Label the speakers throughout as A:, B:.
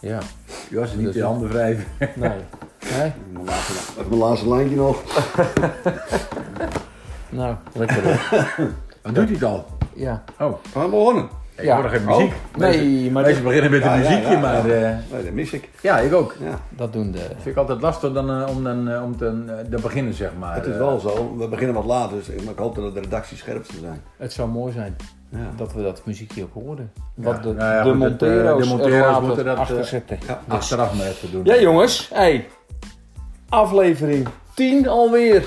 A: Ja,
B: Ja, ze niet
A: Dus-
B: de handen wrijven.
A: nee. nee.
C: Mijn laatste, even mijn laatste lijntje nog.
A: Nou, lekker hoor.
B: Wat doet hij Oh, het al?
A: Ja.
B: Oh,
C: Gaan we begonnen.
B: ik
A: Ja.
B: hoor nog geen muziek.
A: Nee, maar
B: Mensen
A: dat,
B: beginnen met
C: Ja,
B: een
C: ja,
B: muziekje,
C: ja,
B: maar... eh,
C: Nee, dat mis ik.
B: ja, ik ook.
C: Ja.
A: dat doen de...
B: Vind ik altijd lastig dan, eh, om, dan, eh, om te, eh, te beginnen, zeg maar. eh,
C: Het is wel zo, we beginnen wat later, dus ik- maar ik hoop dat de redactie scherp zal zijn.
A: Het zou mooi zijn
C: Ja.
A: dat we dat muziekje ook horen.
B: Ja.
A: Wat de,
B: Nou ja,
A: de
B: goed, het, eh, de
A: Montero's,
B: Montero's
A: er later
B: moeten dat, eh,
A: achter zetten.
C: ja.
B: Achteraf maar even doen.
A: Ja jongens, hey. aflevering 10 alweer.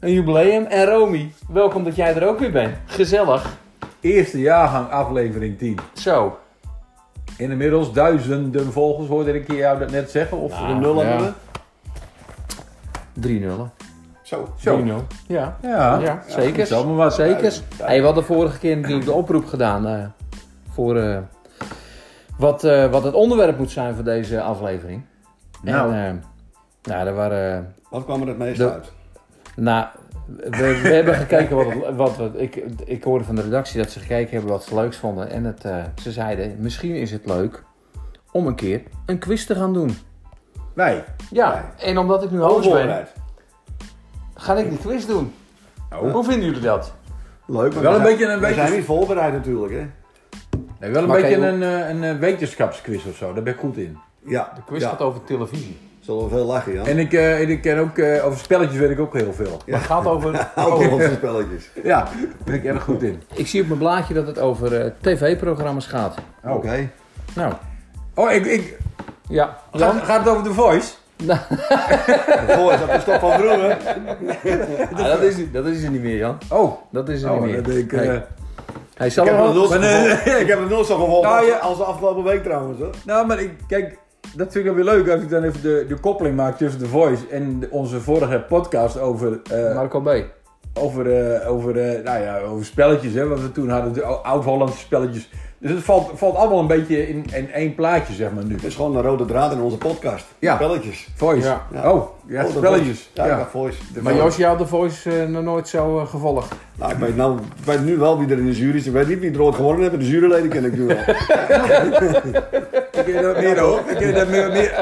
A: Een jubileum. En Romy, welkom dat jij er ook weer bent. Gezellig.
B: Eerste jaargang, aflevering 10.
A: Zo.
B: Inmiddels duizenden volgers, hoorde ik jou dat net zeggen. Of
A: Nou,
C: Een nul
A: ja.
C: hebben
A: 3 0
C: Zo.
B: Zo.
A: Ja.
B: Ja,
A: Ja, zeker.
B: Zal maar wat.
A: Zeker. Hey, we hadden vorige keer natuurlijk de oproep gedaan eh, voor eh, wat, eh, wat het onderwerp moet zijn voor deze aflevering.
B: Nou.
A: En, eh, nou, er waren... eh,
C: Wat kwam er het meest
A: De-
C: uit?
A: Nou, we, we hebben gekeken wat, het- wat, we- ik, ik hoorde van de redactie dat ze gekeken hebben wat ze leuks vonden. En het, eh, ze zeiden, misschien is het leuk om een keer een quiz te gaan doen.
B: Wij.
A: Ja, en omdat ik nu host ben,
C: Onvoorbereid.
A: ga ik die quiz doen. Hoe vinden jullie dat?
C: Leuk.
B: Wel
C: maar we
B: een
C: zijn-
B: beetje een
C: We
B: beetje-
C: zijn niet voorbereid natuurlijk, hè?
B: Nee, wel een
A: Maar
B: beetje
A: kijk,
B: een, eh, een eh, wetenschapsquiz of zo, daar ben ik goed in.
C: Ja.
A: De quiz
C: ja.
A: gaat over televisie.
C: Zullen we veel lachen, Jan?
B: En ik, eh, en ik ken ook, eh, over spelletjes weet ik ook heel veel.
A: Maar het gaat over...
C: Ook onze spelletjes.
B: Ja, daar ben ik erg goed in.
A: Ik zie op mijn blaadje dat het over eh, tv-programma's gaat.
C: Oké.
A: Nou,
B: Oh, ik, ik,
A: ja.
B: gaat, gaat het over The Voice?
C: Voor is dat de stap van vroeger.
A: Ah, dat, is, het- dat is er niet meer, Jan.
B: Oh,
A: Dat is er
B: oh
A: niet meer.
B: dat ben ik...
A: Nee.
B: eh,
A: Hij zal
C: Ik heb
A: er
C: een
A: wel...
C: nul
B: Maar nee,
C: gevolgd. Ik heb een nul zo gevolgd
B: Nou,
C: als-
B: ja.
C: als de afgelopen week trouwens. Hoor.
B: Nou, maar ik, kijk, dat vind ik dan weer leuk als ik dan even de, de koppeling maak tussen The Voice en de- onze vorige podcast over, eh,
A: Marco B.
B: over, eh, over, eh, nou ja, over spelletjes, hè, wat we toen hadden, de ou- oud-Hollandse spelletjes. Dus het valt, valt allemaal een beetje in, in één plaatje, zeg maar nu.
C: Het is gewoon een rode draad in onze podcast.
B: Ja.
C: Spelletjes.
B: Voice.
A: Ja.
C: Ja.
B: Oh, ja,
C: Oh, de
B: spelletjes.
C: voice.
B: Ja,
C: Ja, de voice.
A: Maar Josje had de voice eh, nog nooit zo eh, gevolgd.
C: Nou, ik weet, nou, ik weet nu wel wie er in de jury is. Ik weet niet wie er ooit gewonnen heeft. maar De juryleden ken ik nu wel.
B: Ik ken dat meer hoor. Ik ken dat meer. meer.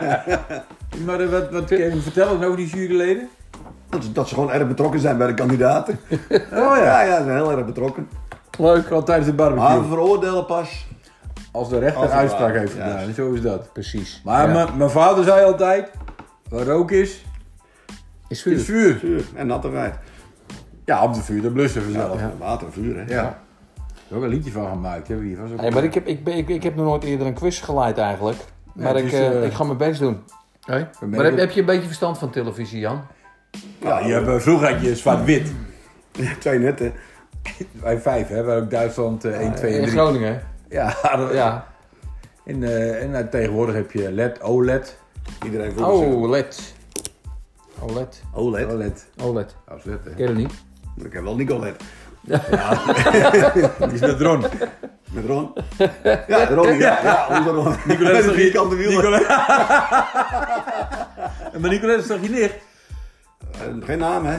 B: maar eh, wat, wat kun je me vertellen over die juryleden?
C: Dat, ze- dat ze gewoon erg betrokken zijn bij de kandidaten.
B: Oh
C: Ja, ja, ze zijn heel erg betrokken.
B: Leuk. Al tijdens de
C: Maar we
B: barbecue.
C: veroordelen pas.
B: Als de rechter
C: Ah, Als het
B: uitspraak
C: waar.
B: heeft
C: Ja.
B: gedaan. Zo is dat.
A: Precies.
B: Maar
A: Ja.
B: mijn- mijn vader zei altijd, waar rook is,
A: Is
B: is
A: vuur.
B: vuur.
C: Vuur en nattigheid.
B: Ja, op de vuur, dan blussen we zelf. Oh, Ja.
C: Ja. Water, vuur, hè?
B: Er is ook een liedje van gemaakt, hebben we hier. Was ook
A: Hey, maar ik heb, ik, ben- ik, ik heb nog nooit eerder een quiz geleid eigenlijk. Maar
B: het
A: ik,
B: is,
A: eh,
B: eh,
A: ik ga mijn best doen. Maar
B: merken-
A: heb, heb je een beetje verstand van televisie, Jan?
B: Ja, je hebt, eh, vroeger had je zwart-wit.
C: Nou, Twee netten.
B: Wij vijf, hè. Wij ook Duitsland eh, 1, 2 en
A: In
B: 3.
A: Groningen?
B: Ja, dat-
A: Ja.
B: En, eh, en eh, tegenwoordig heb je LED, OLED.
C: Iedereen voelt zich.
B: Oh.
A: Oh, OLED. OLED.
C: OLED.
B: OLED.
A: OLED.
B: Dat is LED, Nou, hè.
A: E Ken je dat niet?
C: Ik heb wel Nicolette.
B: Die is met Ron.
C: Met Ron. Ja, de Ron. Ja, ja onze Ron.
B: Nicolette
C: Met de vierkante wielen.
B: En maar Nicolette is toch je nicht?
C: Eh, Geen naam, hè?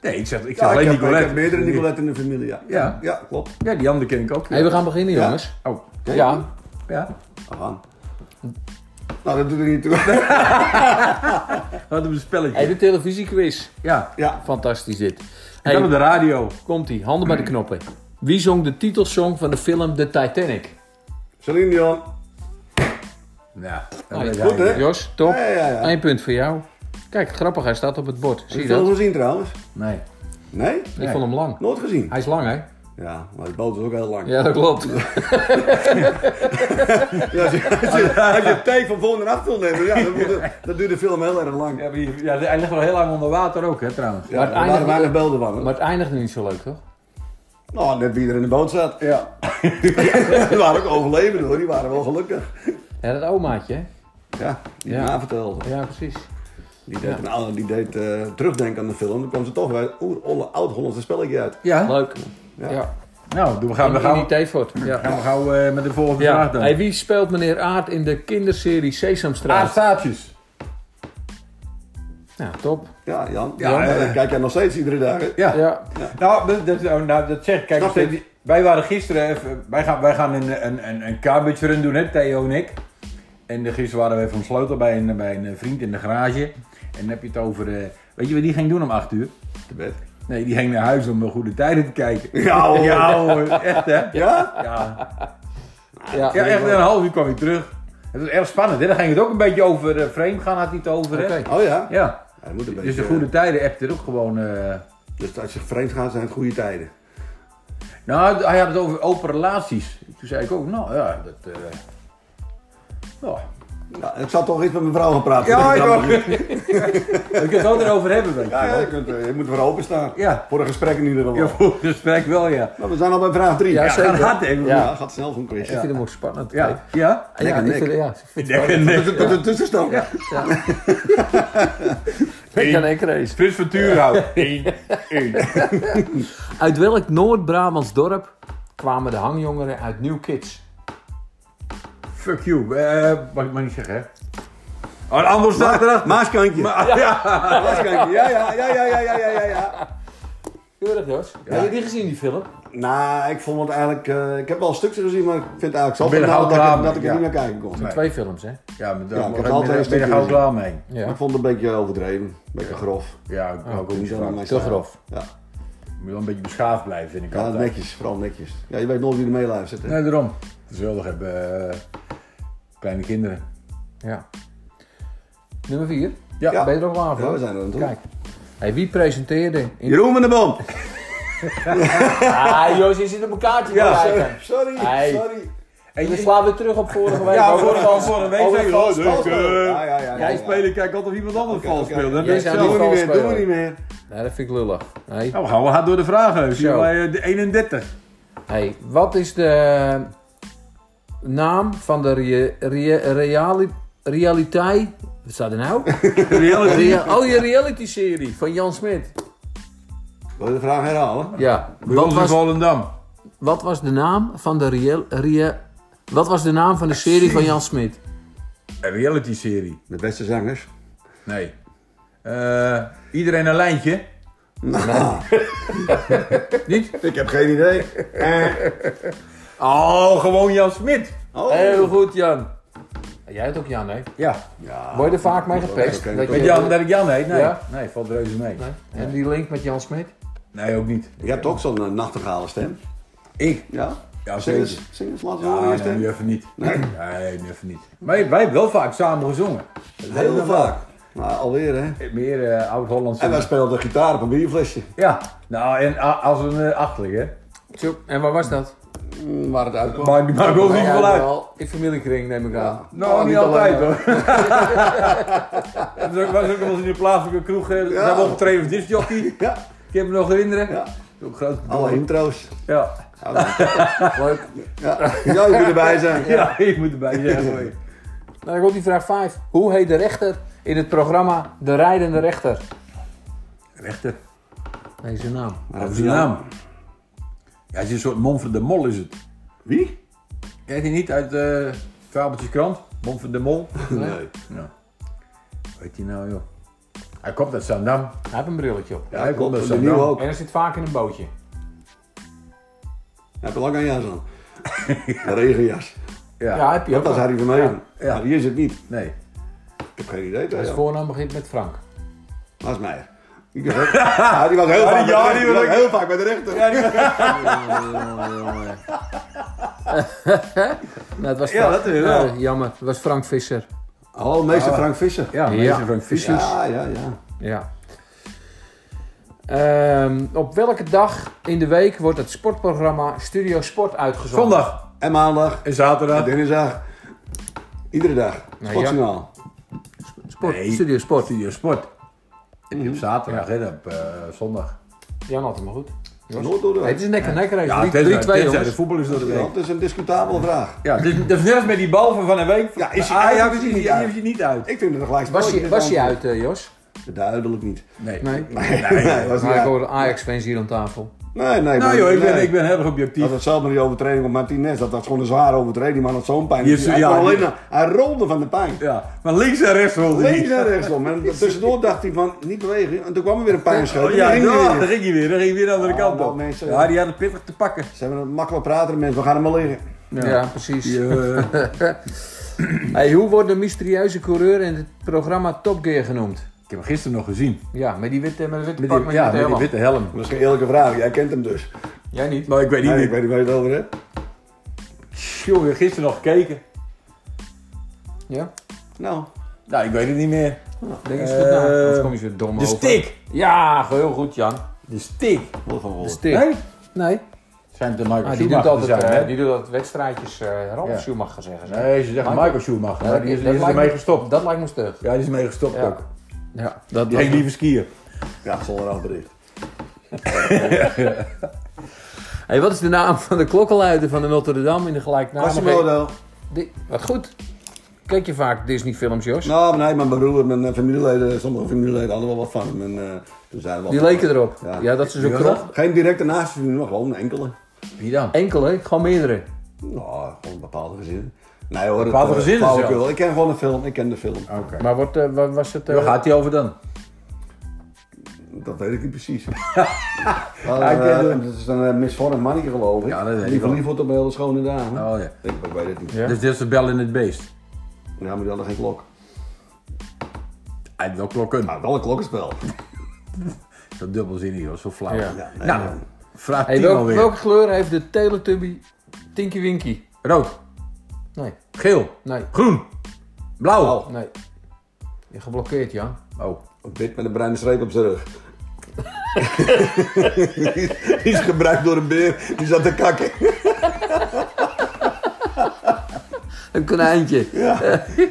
B: Nee, ik zeg, ik zeg
C: Ja, ik
B: alleen
C: heb,
B: Nicolette.
C: ik heb meerdere Nicolette in de familie, ja.
B: Ja.
C: Ja, klopt.
B: Ja, die andere ken ik ook.
A: Hey, we gaan beginnen,
C: Ja.
A: jongens.
B: Oh,
A: Ja.
B: ja.
C: We gaan. Nou, dat doet er niet toe.
B: Hadden we een spelletje.
A: Hey, de televisiequiz.
B: Ja.
C: Ja.
A: Fantastisch dit.
B: Dan op
A: Hey,
B: de radio.
A: komt-ie. Handen bij de knoppen. Wie zong de titelsong van de film The Titanic?
C: Celine Dion.
B: Ja, dat
A: Nou,
B: weet
A: goed,
B: hij
C: hè?
B: niet.
A: Jos, top.
C: Ja, ja, ja.
A: Eén punt voor jou. Kijk, grappig, hij staat op het bord. Zie
C: Heb
A: je
C: je dat
A: dat?
C: gezien trouwens?
B: Nee.
C: Nee?
A: Ik vond hem lang.
C: Nooit gezien?
A: Hij is lang, hè?
C: Ja, maar die boot is ook heel lang.
A: Ja, dat klopt.
C: Ja, als, je, als je- als je het tijd van volgende af wil nemen, ja, dan, moet het- dan duurt de film heel erg lang.
B: Ja, maar die- ja, hij ligt wel heel lang onder water ook, hè, trouwens.
C: Ja,
A: Maar het
C: er waren
A: eindigt-
C: weinig beelden van. hè?
A: Maar het eindigde niet zo leuk, toch?
C: Nou, net wie er in de boot zat. Ja. die waren ook overlevenden hoor, die waren wel gelukkig.
A: Ja, dat omaatje, hè?
C: Ja, die
A: Ja.
C: ja. vertelde.
A: Ja, precies.
C: Die deed, een oude- die deed eh, terugdenken aan de film, dan kwam ze toch bij oer- olle- oud-Hollandse spelletje uit.
B: Ja.
A: Leuk. Ja.
C: Ja.
B: Nou, doen we gaan we
A: In, in
B: gauw,
A: die T-fort. Ja.
B: gaan we gauw eh, met de volgende vraag
A: ja.
B: dan.
A: Hey, wie speelt meneer Aard in de kinderserie Sesamstraat?
B: Aardstaatjes.
A: Ja, top.
C: Ja, Jan.
B: Ja,
C: Jan,
B: eh.
C: dan kijk jij nog steeds iedere dag. hè?
B: Ja.
A: Ja.
B: Nou, dat, dat, nou, dat zeg ik. Kijk,
C: Snap
B: nog steeds,
C: je?
B: Wij waren gisteren even, wij gaan, wij gaan een, een, een, een cabbage run doen, hè, Theo en ik. En eh, gisteren waren we even ontsloten bij een, bij een eh, vriend in de garage. En dan heb je het over, eh, weet je wat die ging doen om 8 uur?
C: Te bed.
B: Nee, die ging naar huis om eh, goede tijden te kijken.
C: Ja hoor. Ja?
B: Ja hoor, echt hè?
C: Ja?
B: Ja.
A: Ja,
B: Ja, echt een half uur kwam hij terug. Het was erg spannend, hè? Daar ging het ook een beetje over eh, frame gaan, had hij het over, hè?
A: Oké.
C: Oh ja?
B: Ja,
C: Ja, dat moet een
B: dus
C: beetje,
B: de goede tijden appt er ook gewoon... eh,
C: dus als je vreemd gaat, zijn het goede tijden.
B: Nou, hij had het over open relaties. Toen zei ik ook, nou ja, dat... eh, Nou,
C: Ja, ik zal toch eens met mijn vrouw gaan praten.
B: Ja,
C: ik
B: ik ook. we kunnen het altijd over hebben, weet je
C: Ja, ja,
B: wel.
C: je, kunt, eh, je moet er wel openstaan.
B: Ja.
C: Voor een gesprek in ieder geval.
B: Ja, voor het gesprek wel, ja.
C: Nou, we zijn al bij vraag 3.
A: Ja,
B: Ja,
A: zeker.
B: gaat hard even.
A: Ja.
B: Ja.
C: gaat snel zo'n quiz.
A: Ik vind hem ook spannend. Peter.
B: Ja. ja.
A: Ja, ik
C: Lekker nek.
A: vind- ja.
C: Dat is een tussenstand.
A: Ik kan één race.
B: Prins van Tuurhout. Eén.
A: Uit welk Noord-Brabants dorp kwamen de hangjongeren uit New Kids?
B: Fuck you. Eh, mag ik maar niet zeggen, hè? Oh, een ander staat erachter.
C: Maaskantje.
B: Ja.
C: Maaskantje. Ja, ja, ja, ja, ja, ja, ja, ja.
A: Keurig, Jos. Heb je die gezien, die film?
C: Nou, ik vond het eigenlijk... eh, ik heb wel stukjes gezien, maar ik vind het eigenlijk
B: ben
C: zo
B: er
C: banaal
B: gauw
C: dat,
B: klaar
C: ik- dat ik
B: mee,
C: er niet
B: ja.
C: naar kijken kon.
B: Nee.
A: Twee films, hè?
B: Ja, maar
C: Ja,
B: daar
C: ik
B: ben
C: heb
B: ik
C: altijd een
B: altijd
C: stukje
B: ben gauw
C: gezien.
B: klaar mee.
C: Maar
A: Ja.
C: Ik vond het een beetje overdreven. Een beetje grof.
B: Ja, ik hou ook
C: Niet
B: niet
C: Ah, zo aan
B: van.
C: mijn
B: Moet
A: Te
C: stijl.
A: grof.
C: Ja,
B: je wel een beetje beschaafd blijven, vind ik
C: ja
B: altijd.
C: netjes. Vooral netjes. Ja, je weet nooit wie er mee luistert. hè.
B: Nee, daarom. Gezellig hebben eh, kleine kinderen.
A: Ja. Nummer 4.
B: Ja.
A: Ben je er nog klaar
C: Ja, we
A: voor?
C: zijn er aan toe.
A: Kijk. Hey, wie presenteerde in...
C: Jeroen van der Boom.
A: Ah, Jos, je zit op een kaartje te
B: Ja,
A: kijken.
C: Sorry,
A: Hey.
C: sorry.
B: En
A: We slaan weer terug op vorige week.
B: Ja,
A: Over-
B: vorige week, vorige week
A: over-
B: zei je, oh,
C: Vals,
B: leuk. eh,
C: Ja, ja, ja.
A: Jij
C: ja, ja.
B: spelen, kijk altijd of iemand anders
C: Oké,
B: vals
C: oké.
B: speelt. Dan
A: Jij
B: ben je
A: zou
B: zelf-
C: Doen we niet meer, doen we
A: valsspeler.
C: niet meer.
A: Nee, dat vind ik lullig. Nee.
B: Nou, we gaan wel hard door de vragen. We
A: Zo.
B: zien bij eh, de 31.
A: Hey, wat is de naam van de re re reali realiteit... Wat staat er nou?
B: Reality.
A: Rea- oh, je reality-serie van Jan Smit.
C: Wil je de vraag herhalen?
A: Ja.
B: Bij
A: Wat
B: ons in
A: was,
B: Volendam.
A: wat was de naam van de real, rea- Wat was de naam van de serie van Jan Smit?
B: Een reality serie.
C: De beste zangers.
B: Nee. Eh, iedereen een lijntje.
C: Nou,
B: Niet?
C: ik heb geen idee. Eh.
B: Oh, gewoon Jan Smit.
C: Oh.
A: Heel goed, Jan. Jij het ook Jan, hè?
B: Ja.
C: Ja.
A: Word je er vaak mee gepest?
C: Oké,
A: Dat
C: oké.
B: Weet
A: je-
B: Jan dat ik Jan heet? Nee.
A: Ja.
B: Nee, valt reuze mee.
A: Nee. En die link met Jan Smit?
B: Nee, ook niet.
C: Je hebt ook zo'n eh, nachtegalen stem.
B: Ik?
C: Ja?
B: Ja,
C: Zing
B: zeker.
C: eens, zing eens, laat eens horen
B: Ja,
C: je
B: Ah, nee,
C: stem.
B: nu even niet. Nee, nu even niet. Maar wij hebben wel vaak samen gezongen. Dat hebben
C: Heel
B: we wel.
C: vaak. Nou, alweer hè.
B: Meer eh, oud-Hollandse.
C: En wij speelden gitaar op een bierflesje.
B: Ja, nou en a- als een eh, achterlijk hè.
A: Zo, En waar was dat?
C: Mm, Waar het uitkwam.
B: Maakt niet maakt ook niet veel uit.
A: wel. In familiekring neem ik aan.
B: Nou,
C: Nou,
B: niet,
C: niet
B: altijd
C: alleen,
B: hoor. Dat was ook- was ook wel eens in de plaatselijke kroeg. eh,
C: Ja.
B: Daar was optreden als discjockey. Ik
C: Ja,
B: heb me nog herinneren.
C: ja.
B: Ook groot.
C: Alle intro's.
B: Ja.
C: Ja, nou,
A: Leuk.
C: ja. ja, je moet erbij zijn.
B: ja, ik moet erbij zeggen. hoor.
A: Dan komt Nou, die vraag 5. Hoe heet de rechter in het programma De Rijdende Rechter?
B: Rechter,
A: Nee, zijn naam.
B: wat is die naam? Ja, het is een soort Monfort de Mol is het.
C: Wie?
B: Kijk je niet uit eh Fabeltjeskrant? Monfort de Mol?
C: Nee.
B: Nou. Weet die nou joh. Hij komt uit Zandam.
A: Hij heeft een brilletje op.
B: Ja, hij komt uit
C: de nieuwe
B: Zandam.
C: ook.
A: En
C: Hij
A: hij zit vaak in een bootje.
C: heeft een lange jas aan. Een regenjas.
A: Ja,
B: Ja.
A: heb je ook.
C: Dat is
A: wel.
C: Harry van Meulen.
B: Ja.
C: Maar hier is het niet.
B: Nee.
C: Ik heb geen idee.
A: Zijn
C: Theo.
A: voornaam begint met Frank.
C: Lars Meijer. Ik heb- Ja, die was heel vaak bij de
B: ja, die
C: rechter. Die
B: was
C: was
B: ook-
C: heel vaak bij de rechter.
A: Nou, het was
C: Ja, dat is wel.
A: Nee, jammer, het was Frank Visser.
C: Oh, meester Frank Visser.
B: Ah. Ja,
A: Ja.
B: meester Frank Visser.
C: Ja, ja, ja.
A: Ja. Ehm, op welke dag in de week wordt het sportprogramma Studio Sport uitgezonden?
B: Zondag
C: En maandag.
B: en zaterdag.
C: En dinsdag. Iedere dag.
A: ja.
C: Sportsignaal.
A: Sport,
B: Nee.
A: Studio Sport.
B: Studio Sport. Heb je op zaterdag en op eh, zondag.
A: Jan had hem maar goed.
C: Nooit door de
A: Nee, het is een nek en nek race.
B: Ja,
A: Drie-
B: tenzij,
A: drie, twee,
B: tenzij
A: jongens.
B: de voetbal is door de week.
C: Dat is een discutabele vraag.
B: Ja, dus, dat is net als met die bal van van een week.
C: Ja, is hij
B: ah,
C: uit
B: ja,
C: of is hij
B: precies.
C: niet
B: Die
C: uit?
B: heeft je niet uit.
C: Ik vind het een gelijk
A: Was je,
B: Oh,
C: spelletje.
A: was je uit, eh, Jos?
C: Duidelijk niet.
B: Nee.
A: Nee.
B: Nee.
C: was niet
A: Maar ik
C: uit.
A: hoor Ajax-fans hier aan tafel.
C: Nee, nee. maar-
B: Nou joh, ik ben,
C: nee.
B: ik ben erg
C: Dat
B: objectief.
C: hetzelfde met die overtreding op Martinez. Dat was gewoon een zware overtreding, maar had zo'n pijn.
B: Je zegt,
C: hij,
B: ja,
C: kon
B: je-
C: alleen, maar- hij rolde van de pijn.
B: Ja, maar links en rechts wilde hij.
C: Links en rechtsom. En tussendoor dacht hij van, niet bewegen. En toen kwam er weer een pijnscheut.
B: Oh,
C: en
B: ja,
C: dan ging hij
B: ja,
C: weer.
B: daar ging hij weer. Daar ging hij weer de andere
C: Ah,
B: kant
C: nou,
B: op.
C: mensen.
B: ja, die had het pittig te pakken.
C: Ze hebben een makkelijk praten, mensen. We gaan hem maar liggen.
A: Ja, precies.
B: Die, eh,
A: Hey, hoe wordt de mysterieuze coureur in het programma Top Gear genoemd?
B: ik heb hem gisteren nog gezien.
A: Ja, met die witte, met de witte
B: Met
A: pak
B: die,
A: met
B: ja,
A: die
B: met die
A: helm.
B: witte helm.
C: Dat is geen eerlijke vraag. Jij kent hem dus.
A: Jij niet?
B: Maar ik weet niet
C: Nee, ik
B: meer.
C: weet niet waar je het over hebt.
B: Jongen, gisteren nog gekeken.
A: Ja?
C: Nou,
B: Nou, ik weet het niet meer.
A: Denk eens goed na.
B: Eh,
A: Of kom je zo dom
B: De
A: over?
B: stick.
A: Ja, heel goed Jan.
B: De stick.
C: wat van
A: De
C: woord.
A: stick.
B: Nee?
A: Nee.
B: Zijn de
A: Ah,
B: Michael
A: die, doet
B: Schumacher te
A: altijd,
B: zijn,
A: eh,
B: hè?
A: die doet altijd wedstrijdjes eh Ralf
B: Ja.
A: Schumacher zeggen. ze.
B: Nee, ze zeggen Michael Schumacher. maar die is, die is
A: lijkt
B: ermee
A: me-
B: gestopt.
A: Dat lijkt me stug.
B: Ja, die is ermee gestopt
A: Ja.
B: ook.
A: Ja, dat
B: Die
A: lijkt
B: ging
A: me-
B: liever skiën.
C: Ja, zonder afbericht.
A: Hey, wat is de naam van de klokkenluider van de Notre Dame in de gelijknamige...
C: Quasimodo.
A: Di- Wat goed. Kijk je vaak Disney-films, Jos?
C: Nou, nee, mijn broer, mijn eh, familieleden, sommige familieleden hadden wel wat van hem. En, eh, toen zeiden we
A: Die
C: wel-
A: leken erop. Ja,
C: Ja.
A: dat is dus ook
B: Wie was
A: knap.
C: Geen directe naastvervinding, maar gewoon enkele.
B: Wie dan?
A: Enkele, gewoon meerdere.
C: Nou, gewoon bepaalde gezinnen. Nee hoor,
B: Bepaalde
C: eh,
B: gezinnen
C: flauwekul.
B: zelfs.
C: Ik ken gewoon de film, ik ken de film.
B: Oké.
A: Maar wat, eh, wa- was het... eh,
B: Waar gaat hij over dan?
C: Dat weet ik niet precies.
B: Ja, ik ken
C: Maar,
B: hem.
C: eh, het is een eh, misvormd mannetje geloof ik.
B: Ja, dat weet ik
C: die
B: wel.
C: verliefd wordt op een hele schone dame.
B: Oh ja.
C: Ik, ik weet het niet.
A: Ja.
B: Dus dit is de bel in het beest.
C: Ja, maar die hadden geen klok.
B: Hij had wel klokken.
C: Nou, wel een klokkenspel.
B: Zo dubbelzinnig, hoor. zo flauw.
A: Ja.
C: Ja, nee,
B: Nou,
C: nee.
B: vraag
A: Hey,
B: Timo
A: welk-
B: weer.
A: welke kleur heeft de Teletubby Tinky Winky?
B: Rood,
A: Nee,
B: geel,
A: nee,
B: groen, blauw.
A: nee. Je geblokkeerd, Jan.
B: Oh.
C: Dit met Nou, een bruine streep op zijn rug. die is gebruikt door een beer, die zat te kakken.
A: Een konijntje.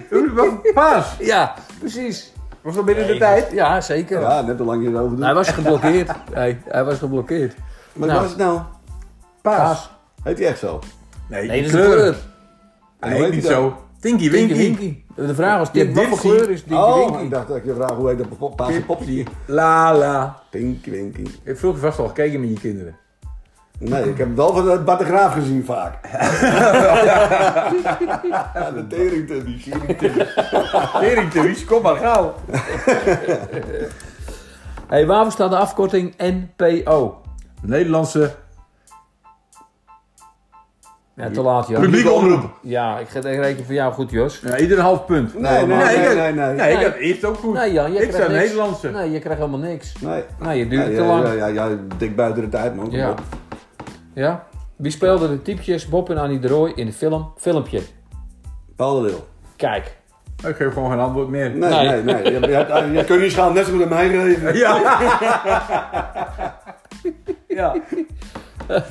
B: Paas.
A: Ja, precies.
B: Was dat binnen de tijd?
A: Ja, zeker.
C: Ja, net hoe lang je erover
B: Nou,
C: doet.
A: Hij was geblokkeerd. hey, hij was geblokkeerd.
C: Maar
A: Nou.
C: wat is het nou?
B: Paas.
C: Heet hij echt zo?
B: Nee,
A: Nee,
B: die
A: dat is een kleur.
B: kleuren.
C: En
B: Hij heet niet zo. Tinky
A: Tinky
B: Winky.
A: Winky. De vraag was,
B: Ja,
A: Tinky, wat voor
B: Dipsy.
A: kleur is Tinky
C: Oh,
A: Winky?
C: ik dacht dat ik je vraag hoe heet dat pop- paarse popje?
B: La la.
C: Pinky Winky.
B: Ik heb vroeger vast al gekeken met je kinderen.
C: Nee, ik heb het wel van eh, Bart de Graaf gezien vaak. Ja, de tering
B: Erik Therese, kom maar gauw.
A: Hey, waar bestaat de afkorting NPO?
B: Nederlandse
A: Ja, te laat, Jan.
B: publiek omroep.
A: Ja, ik ga ik reken voor jou goed, Jos.
B: Ja, ieder een half punt.
C: Nee, nee,
B: ik
C: nee,
B: had-
C: nee, nee.
B: Ja, ik
A: Nee.
B: had eerst ook goed.
A: Nee, Jan, je
B: ik
A: krijgt
B: zou
A: niks.
B: Nederlandse.
A: Nee, je krijgt helemaal niks.
C: Nee.
A: Nee, je duurt
C: Ja,
A: te
C: ja,
A: lang.
C: Ja, ja, ja, dik buiten de tijd, man. Kom
A: Ja.
C: op.
A: Ja? Wie speelde de typjes Bob en Annie de Rooij in de film? Filmpje.
C: Paul de Leeuw.
A: Kijk.
B: Ik geef gewoon geen antwoord meer.
C: Nee,
A: Nee.
C: nee, nee. Je, je, je kunt niet schaam net zo goed aan mij geven.
B: Ja. ja.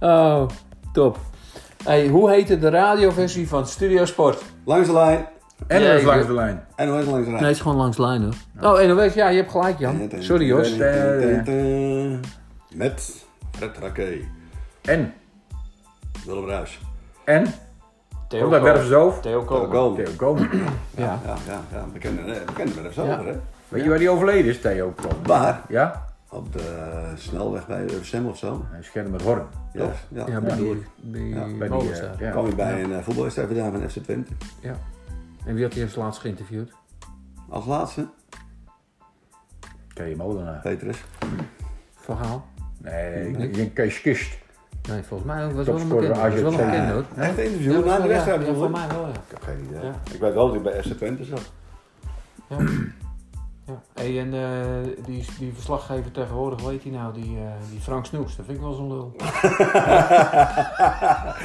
A: Oh, top. Hey, hoe heette de radioversie van Studio Sport?
C: Langs de lijn.
B: En
A: Ja,
B: dan
A: ik-
B: langs de lijn.
C: En hoe heet het langs de lijn?
A: Nee, het is gewoon langs lijn hoor. Oh, en weet ja, je hebt gelijk Jan. Sorry Jos.
C: Met Fred Raké.
B: En.
C: Willem Ruijs.
B: En.
A: Theo
B: Komt uit Bergenzoof.
A: Theo Kool.
C: Theo Kool.
B: Theo Komen.
A: Ja.
C: Ja, ja, ja. Bekende, eh, bekende met
A: Ja.
C: hè?
B: Weet je waar die overleden is, Theo Komen?
C: Waar?
B: Ja?
C: Op de snelweg bij Ursem of zo.
B: Hij schermt met Horn.
C: Ja, ja.
A: Ja, bij die... bij die
B: Bij die, eh,
A: Molenstaar.
B: ja.
C: kwam ik bij een eh, voetbalwedstrijd vandaan van FC Twente.
A: Ja. En wie had hij als laatst geïnterviewd?
C: Als laatste,
B: Theo Molenaar.
C: Petrus.
A: Verhaal?
B: Nee, ik denk- ik denk Kees Kist.
A: Nee, volgens mij was het wel een
B: Topscorer
A: bekende. Was wel een
B: AZ.
A: bekende hoor.
C: Echt
A: Ja,
C: interview
A: was
C: na
A: wel-
C: de wedstrijd.
A: ja,
C: bedoel
A: Voor
C: ik?
A: mij wel ja.
C: Ik heb geen idee.
A: Ja.
C: Ik weet wel dat ik bij FC Twente zat.
A: Ja. Hey, en eh, die, die verslaggever tegenwoordig, weet hij nou, die, eh, die Frank Snoeks, dat vind ik wel zo'n lul.
B: Oh,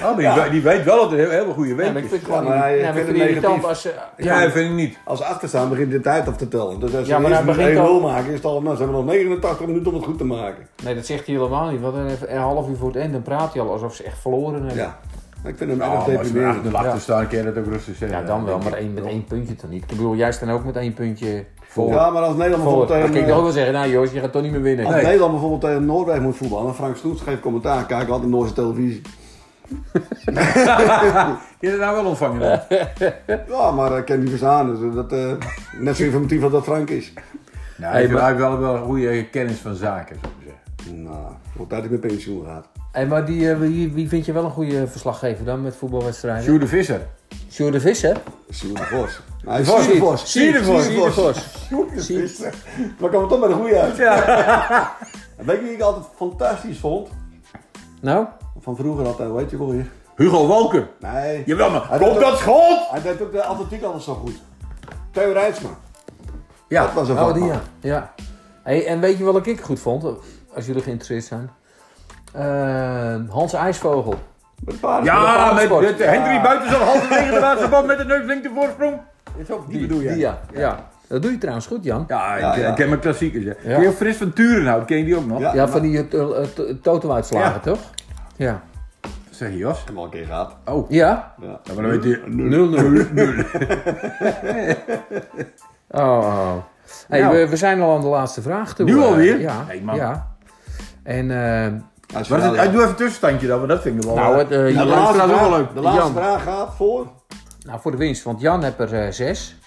B: maar die, we- die weet wel dat het een hele goede
A: Ja,
B: week
A: maar ik
B: is.
A: vind gewoon
C: Ja, maar hij
A: nee, maar ik
C: vindt
A: vind het
C: het
A: irritant
C: negatief.
A: als ze...
B: Ja, dat vind ik niet.
C: Als ze achterstaan begint de tijd af te tellen. Dus als ze
A: Ja, maar
C: eerst
A: hij
C: een
A: begint
C: 1-0
A: al-
C: maken, is het al, nou, ze hebben nog 89 minuten om het goed te maken.
A: Nee, dat zegt hij helemaal niet, want dan even een half uur voor het eind, dan praat hij al alsof ze echt verloren hebben. Ja,
C: Ja. Ik vind hem
B: Oh,
C: erg
B: maar als we achter
C: deprimerend.
B: de achter staan, kun je dat ook rustig zeggen.
A: dan wel, maar één, met één puntje toch niet. Ik bedoel, jij staat ook met één puntje voor.
C: Ja, maar als Nederland
A: voor.
C: bijvoorbeeld
A: Dan kan
C: tegen,
A: ik toch ook
C: eh,
A: wel zeggen, nou Joost, je gaat toch niet meer winnen.
C: als
B: Nee.
C: Nederland bijvoorbeeld tegen Noorwegen moet voetballen, en Frank Snoets geeft commentaar, kijk altijd Noorse televisie.
B: Kun je dat nou wel ontvangen dan?
C: Ja, maar ik ken die verstaan, dus eh, dat, eh, net zo informatief als dat Frank is.
B: Nou,
A: Hey,
B: hij
A: maar-
B: heeft wel, wel een goede kennis van zaken, zou ik zeggen.
C: Nou, tot dat ik met pensioen gaat.
A: Hey, maar die, eh, wie, wie vind je wel een goede verslaggever dan met voetbalwedstrijden?
B: Sjoerd de Visser.
A: Sjoerd de Visser?
C: Sjoerd de Vos. Nou,
B: Vos.
C: Sjoerd de Vos.
B: Sjoerd de Vos.
A: Sjoerd de Vos.
C: Sjoerd de Visser. Maar kwam het toch bij de goede uit. En Weet je wie ik altijd fantastisch vond?
A: Nou?
C: Van vroeger altijd, weet je wel weer.
B: Hugo Walker.
C: Nee.
B: Jawel, maar
C: Hij
B: komt
C: doet
B: dat schot?
C: Hij deed ook de atletiek altijd zo goed. Theo Rijtsma.
B: Ja.
C: Dat was een
A: Oh, die
C: vakman.
A: ja. ja. Hey, en weet je wat ik goed vond? Als jullie geïnteresseerd zijn. Eh, Hans IJsvogel.
C: Met paarden.
B: Ja, met,
A: Paardensport.
B: met Hendry Buitensel halverwege de laatste bal met de neus linkt de voorsprong. Is ook die, bedoel
A: Die, ja. ja. Dat doe je trouwens goed, Jan.
B: Ja,
C: Ja,
B: ik,
C: ja.
B: ik ken mijn klassiekers. hè.
A: Ja.
B: Ken je Frits van Turenhout? Ken je die ook nog?
C: Ja.
A: Ja, van die eh, eh, to- totemuitslagen,
B: Ja.
A: toch? Ja.
B: Zeg je Jos?
C: Heb hem al een keer gehad.
B: Oh.
A: Ja?
C: Ja.
B: Ja, maar dan weet je...
A: 0-0. oh, oh. Hey,
B: Nou.
A: we, we zijn al aan de laatste vraag toe.
B: Nu
A: eh,
B: alweer?
A: ja.
B: Hey, man.
A: ja. En, eh,
C: Hij is
B: Wat is het?
C: wel, ja.
B: Doe even een tussenstandje dan, want dat vind ik wel...
A: nou, het, eh,
C: De
A: Jan-
C: laatste,
B: dat is ook wel
C: vraag-
B: leuk.
C: de laatste
A: Jan.
C: vraag gaat voor.
A: Nou, voor de winst, want Jan heeft er eh, zes.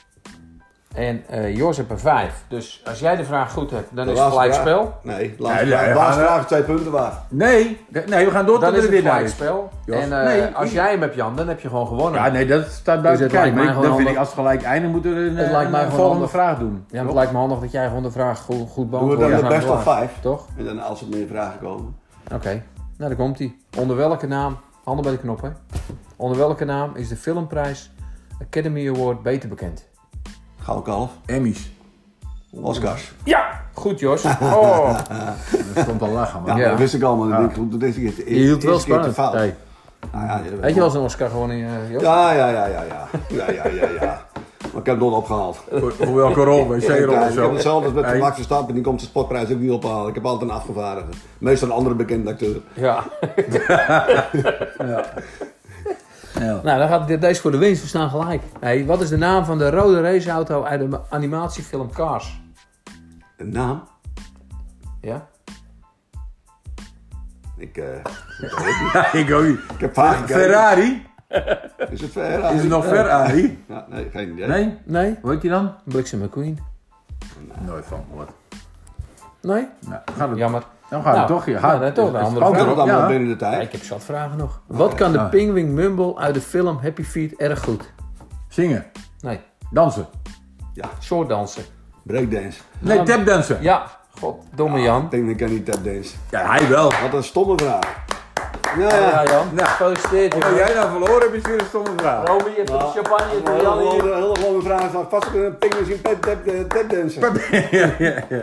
A: En eh Jos heeft er vijf. Dus als jij de vraag goed hebt, dan
C: De
A: is het
C: laatste
A: gelijk spel.
C: vraag- Nee, de laatste,
B: Nee,
C: vraag,
B: nee,
C: de laatste
B: ja,
C: vraag is twee punten waard.
B: Nee, de- nee, we gaan door
A: Dan
B: tot
A: is
B: er
A: het
B: weer
A: gelijk
B: naar
A: spel.
B: Jos?
A: En eh,
B: Nee,
A: als
B: ik-
A: jij hem hebt, Jan, dan heb je gewoon gewonnen.
B: Ja, nee, dat staat buiten
A: Dus het lijkt
B: kijf. Maar
A: mij
B: ik-
A: gewoon
B: dan vind ik als we
A: handig.
B: gelijk eindigen, moeten we een,
A: Het lijkt
B: een
A: mij gewoon
B: volgende
A: handig.
B: vraag doen.
A: Ja, maar het lijkt me handig dat jij gewoon de vraag goed, goed
C: Doen we
A: beantwoordt.
C: dan de
A: Dat is
C: best of
A: namelijk belangrijk,
C: vijf.
A: Toch?
C: En dan als er meer vragen komen.
A: Oké. Nou, daar komt hij. Onder welke naam, handen bij de knop hè. Onder welke naam is de filmprijs Academy Award beter bekend?
C: Gouden kalf.
B: Emmys.
C: Oscars.
A: Ja! Goed, Jos. Oh.
B: Dat stond al lachen, man.
C: Ja,
A: Ja.
C: dat wist ik allemaal. Dat denk ik, dat is de eerste-
A: Je hield wel
C: eerste keer te
A: spannend.
C: fout.
A: Hey,
C: Nou ja, ja,
A: Weet je wel eens een Oscar gewoon in, Jos?
C: Ja, ja, ja, ja, ja. Ja, ja, ja, ja. Maar ik heb Don opgehaald.
B: Voor, voor welke rol?
C: Ja,
B: Wc-rol of
C: Ik heb
B: zo?
C: hetzelfde als met
B: Hey.
C: Max Verstappen, die komt de spotprijs ook niet ophalen. Ik heb altijd een afgevaardigde. Meestal een andere bekende acteur.
A: ja.
B: Ja.
A: Nou, dan gaat dit- deze voor de winst. We staan gelijk. Hey, wat is de naam van de rode raceauto uit de ma- animatiefilm Cars?
C: Een naam?
A: Ja?
C: Ik, eh,
B: Ik ook niet.
C: ik heb vaak gekeken.
B: Ferrari?
C: Is het Ferrari?
B: Is het nog Ferrari?
C: Ja, nee, geen idee.
B: Nee?
A: Nee?
B: Hoe heet die dan?
A: Bliksem McQueen?
B: Nooit van gehoord.
A: Nee?
B: Nou, gaat het,
A: Jammer.
B: dan gaat het
A: Nou,
B: toch. Ja,
A: nou, dan toch een andere
C: Ik
A: vraag.
C: had het allemaal
B: Ja.
C: binnen de
A: Ja,
C: tijd.
A: ik heb zat vragen nog. Wat kan de
B: Ah.
A: pingwing Mumble uit de film Happy Feet erg goed?
B: Zingen.
A: Nee,
B: Dansen.
A: soortdansen.
C: Breakdance.
B: Nee,
A: Nou.
B: tapdansen.
A: Ja, goddomme Jan.
C: Ik denk dat ik kan niet tapdance.
B: Ja, hij wel.
C: Wat een stomme vraag. Ja,
A: Ja,
C: ja.
A: Jan.
B: Nou.
A: Gefeliciteerd,
B: Als
A: Jan.
B: jij nou verloren hebt, is weer een stomme vraag.
A: Romy, je hebt de champagne voor Jan
C: Heel
A: hier.
C: hele gewone vraag van vast kunnen een pingers in tap- tap- eh, tapdansen.
B: ja, ja, ja.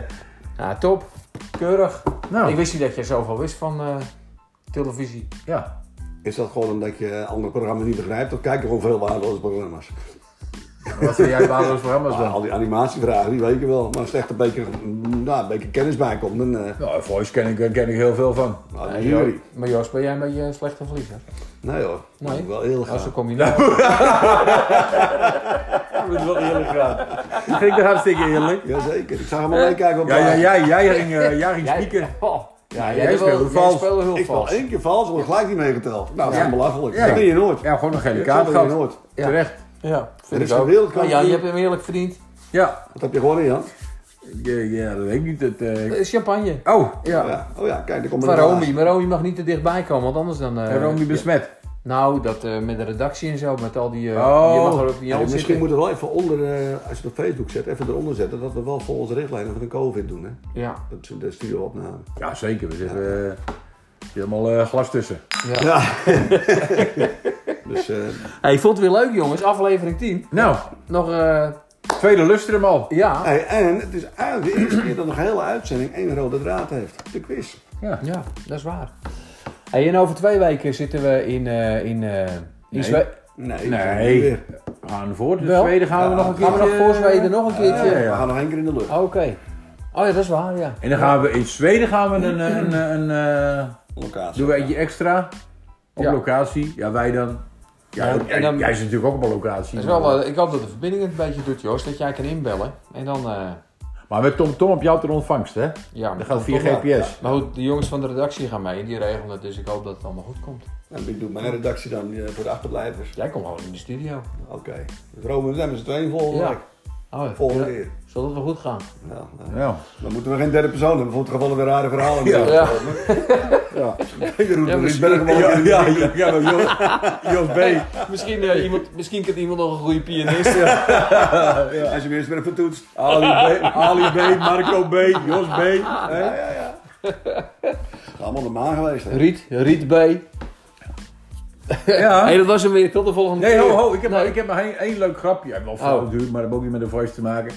A: Nou, top. Keurig.
B: Nou.
A: Ik wist niet dat je zoveel wist van eh, televisie.
B: ja.
C: Is dat gewoon omdat je andere programma's niet begrijpt? Of kijk je gewoon veel waardeloze programma's?
B: Wat vind jij waardeloos programma's
C: Maar al
B: dan?
C: die animatievragen, die weet je wel. Maar als er echt een beetje, nou, een beetje kennis bij komt, dan... eh,
B: Nou, voice ken ik, ken ik heel veel van.
C: nou, dan
A: Nee,
C: jullie.
A: Jo- Ah, maar Jos, ben jij een beetje een slechte verliezer?
C: Nee hoor, dat
A: Nee.
C: is wel heel
A: Als
C: gaaf.
A: dan kom je nou.
B: Ik moet wel eerlijk gaan. Vind ik dat hartstikke eerlijk?
C: Jazeker, ik zag hem alleen kijken op
B: Ja, ja,
C: de-
B: ja, jij ging, eh, jij ging
A: Jij,
B: spieken.
A: oh, ja,
B: Nee,
A: jij,
B: jij
A: wil-
B: speelde
A: jij
B: vals.
A: speelde heel
C: Ik val
A: vals.
C: één keer vals, word gelijk niet meegeteld. Nou, dat is
B: Ja.
C: belachelijk.
B: Ja.
C: Dat doe je nooit.
B: Ja, gewoon een gele
C: Dat
B: kaart
C: doe je
B: gehad.
C: nooit.
A: Ja.
B: Terecht.
A: Ja,
C: Er
A: vind
C: is
A: ik
C: een
A: ook.
C: wereldkampioen.
A: Nou, Jan, je hebt hem eerlijk verdiend.
B: Ja.
C: Wat heb je gewonnen, Jan?
B: Ja, ja, dat weet ik niet. Dat, eh,
A: Eh, Champagne.
B: Oh,
A: Ja.
C: Ja. Oh ja, kijk, daar komt
A: Van
C: een
A: Romy,
C: glaas.
A: maar Romy mag niet te dichtbij komen, want anders dan... eh,
B: en Romy besmet.
A: Nou, dat eh, met de redactie en zo, met al die... eh
B: Oh.
A: Je mag er ook niet
C: Ja,
A: aan
C: misschien
A: zitten.
C: moeten we wel even onder, eh, als je het op Facebook zet, even eronder zetten dat we wel volgens de richtlijnen van de COVID doen. Hè?
A: Ja.
C: Dat is de studioopname.
B: Ja, zeker. We zitten eh, er zit helemaal eh, glas tussen.
A: ja.
C: Ja. dus eh,
A: Hey, ik vond het weer leuk, jongens. Aflevering 10.
B: Nou,
A: Nog, eh,
B: tweede luster hem al.
A: ja.
C: hey, en het is eigenlijk de eerste keer dat nog een hele uitzending één rode draad heeft. De quiz.
B: Ja.
A: Ja, dat is waar. Hey, en over twee weken zitten we in... eh, in, eh, in Zwe-
C: Nee.
B: Nee.
C: Weer.
B: We gaan voor. Dus
A: Wel.
B: Zweden gaan we nog een keer. eh,
A: Gaan we nog voor Zweden nog een keertje? Ah,
B: ja,
C: We
B: ja.
C: gaan nog één keer in de lucht.
A: Oké. Oh ja, dat is waar, ja.
B: En dan gaan we in Zweden gaan we een, eh, een, eh, een, eh,
C: Locatie.
B: doen we eentje extra op
A: Ja.
B: locatie. Ja, wij dan. Ja,
A: Ja,
B: ook-
A: en dan-
B: jij is natuurlijk ook op een locatie.
A: Dat is wel, eh, ik hoop dat de verbinding het een beetje doet, Joost. Dat jij kan inbellen. En dan... eh,
B: Maar met Tom Tom op jou ter ontvangst, hè?
A: ja,
B: Dat gaat via GPS.
A: Maar goed, de jongens van de redactie gaan mee en die regelen het, dus ik hoop dat het allemaal goed komt.
C: En ik doe mijn redactie dan eh, voor de achterblijvers.
A: Jij komt gewoon in de studio.
C: Oké. Dus Rome, we zijn met z'n tweeën volgende
A: Ja.
C: week.
A: Oké, Oh,
C: Volgende
A: ja.
C: keer.
A: Zal dat wel goed gaan?
C: Ja, nou,
B: Ja.
C: dan moeten we geen derde persoon hebben voor het geval dat we rare verhalen hebben.
A: Ja.
C: ja. Jeroen
A: Ja,
C: ja,
A: misschien-
C: Bergman.
B: Ja, ja,
C: ja,
B: Jos B.
A: Misschien, eh, iemand, misschien kent iemand nog een goede pianist.
C: Als je hem eerst weer even toetst.
B: Ali B, Ali B, Marco B, Jos B. hè?
C: Ja, ja, ja. Allemaal de maan geweest. Hè?
A: Riet, Riet B.
B: Ja.
A: Hey, dat was hem weer. Tot de volgende
B: Nee,
A: keer.
B: ho, ho. Ik heb,
A: Nee.
B: ik heb maar één, één leuk grapje. Ja, wel veel
A: Oh.
B: natuurlijk, maar dat heeft ook niet met de voice te maken.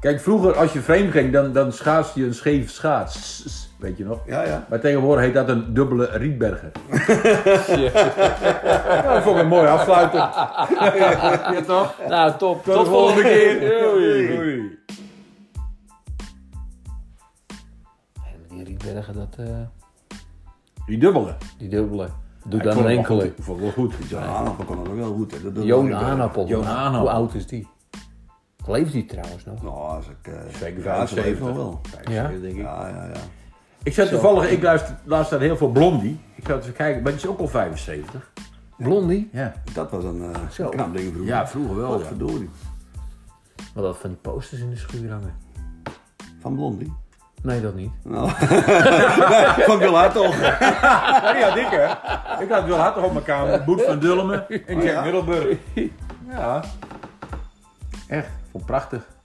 B: Kijk, vroeger als je vreemd ging, dan, dan schaatste je een scheef schaats. Weet je nog?
C: Ja, ja.
B: Maar tegenwoordig heet dat een dubbele Rietberger.
A: Ja.
B: Ja, dat vond ik een mooi afsluiten. ja, toch?
A: Nou, top. Tot,
B: de volgende keer.
A: Doei.
B: Doei.
A: Hey, maar Die Rietbergen, dat, eh,
B: Die dubbele.
A: die dubbele. Doe
B: Ik
A: dan
B: vond
A: een
B: het wel
A: enkele.
B: goed. Ik vond het wel goed.
C: Zo'n aardappel kon dat ook wel goed. Hè? Dat- dat-
A: Joon
C: dat-
A: Aanappel. Nou,
B: Joon Aanappel.
A: Hoe oud is die? Leeft die trouwens nog?
C: Nou, als ik... eh,
B: Zeker
C: ja, ze leeft
B: 75.
C: nog wel.
A: Ja?
B: denk ik.
C: Ja, ja, ja.
B: Ik zat toevallig, ik luister laatst naar heel veel Blondie. Ik zat even kijken, maar die is ook al 75.
A: Blondie?
B: Ja,
C: Dat was een eh
A: Zo.
C: knap ding vroeger.
B: ja vroeger wel. Ja.
C: Godverdorie.
A: Wat dat van die posters in de schuur hangen.
C: Van Blondie.
A: Nee, dat niet.
C: Nou. van Bill Hartog.
B: Ja, die had ik hè. Ik had wel hard op mijn kamer. Boet van Dulmen en Jack
C: ja?
B: Middelburg. Ja. Echt, vond ik prachtig.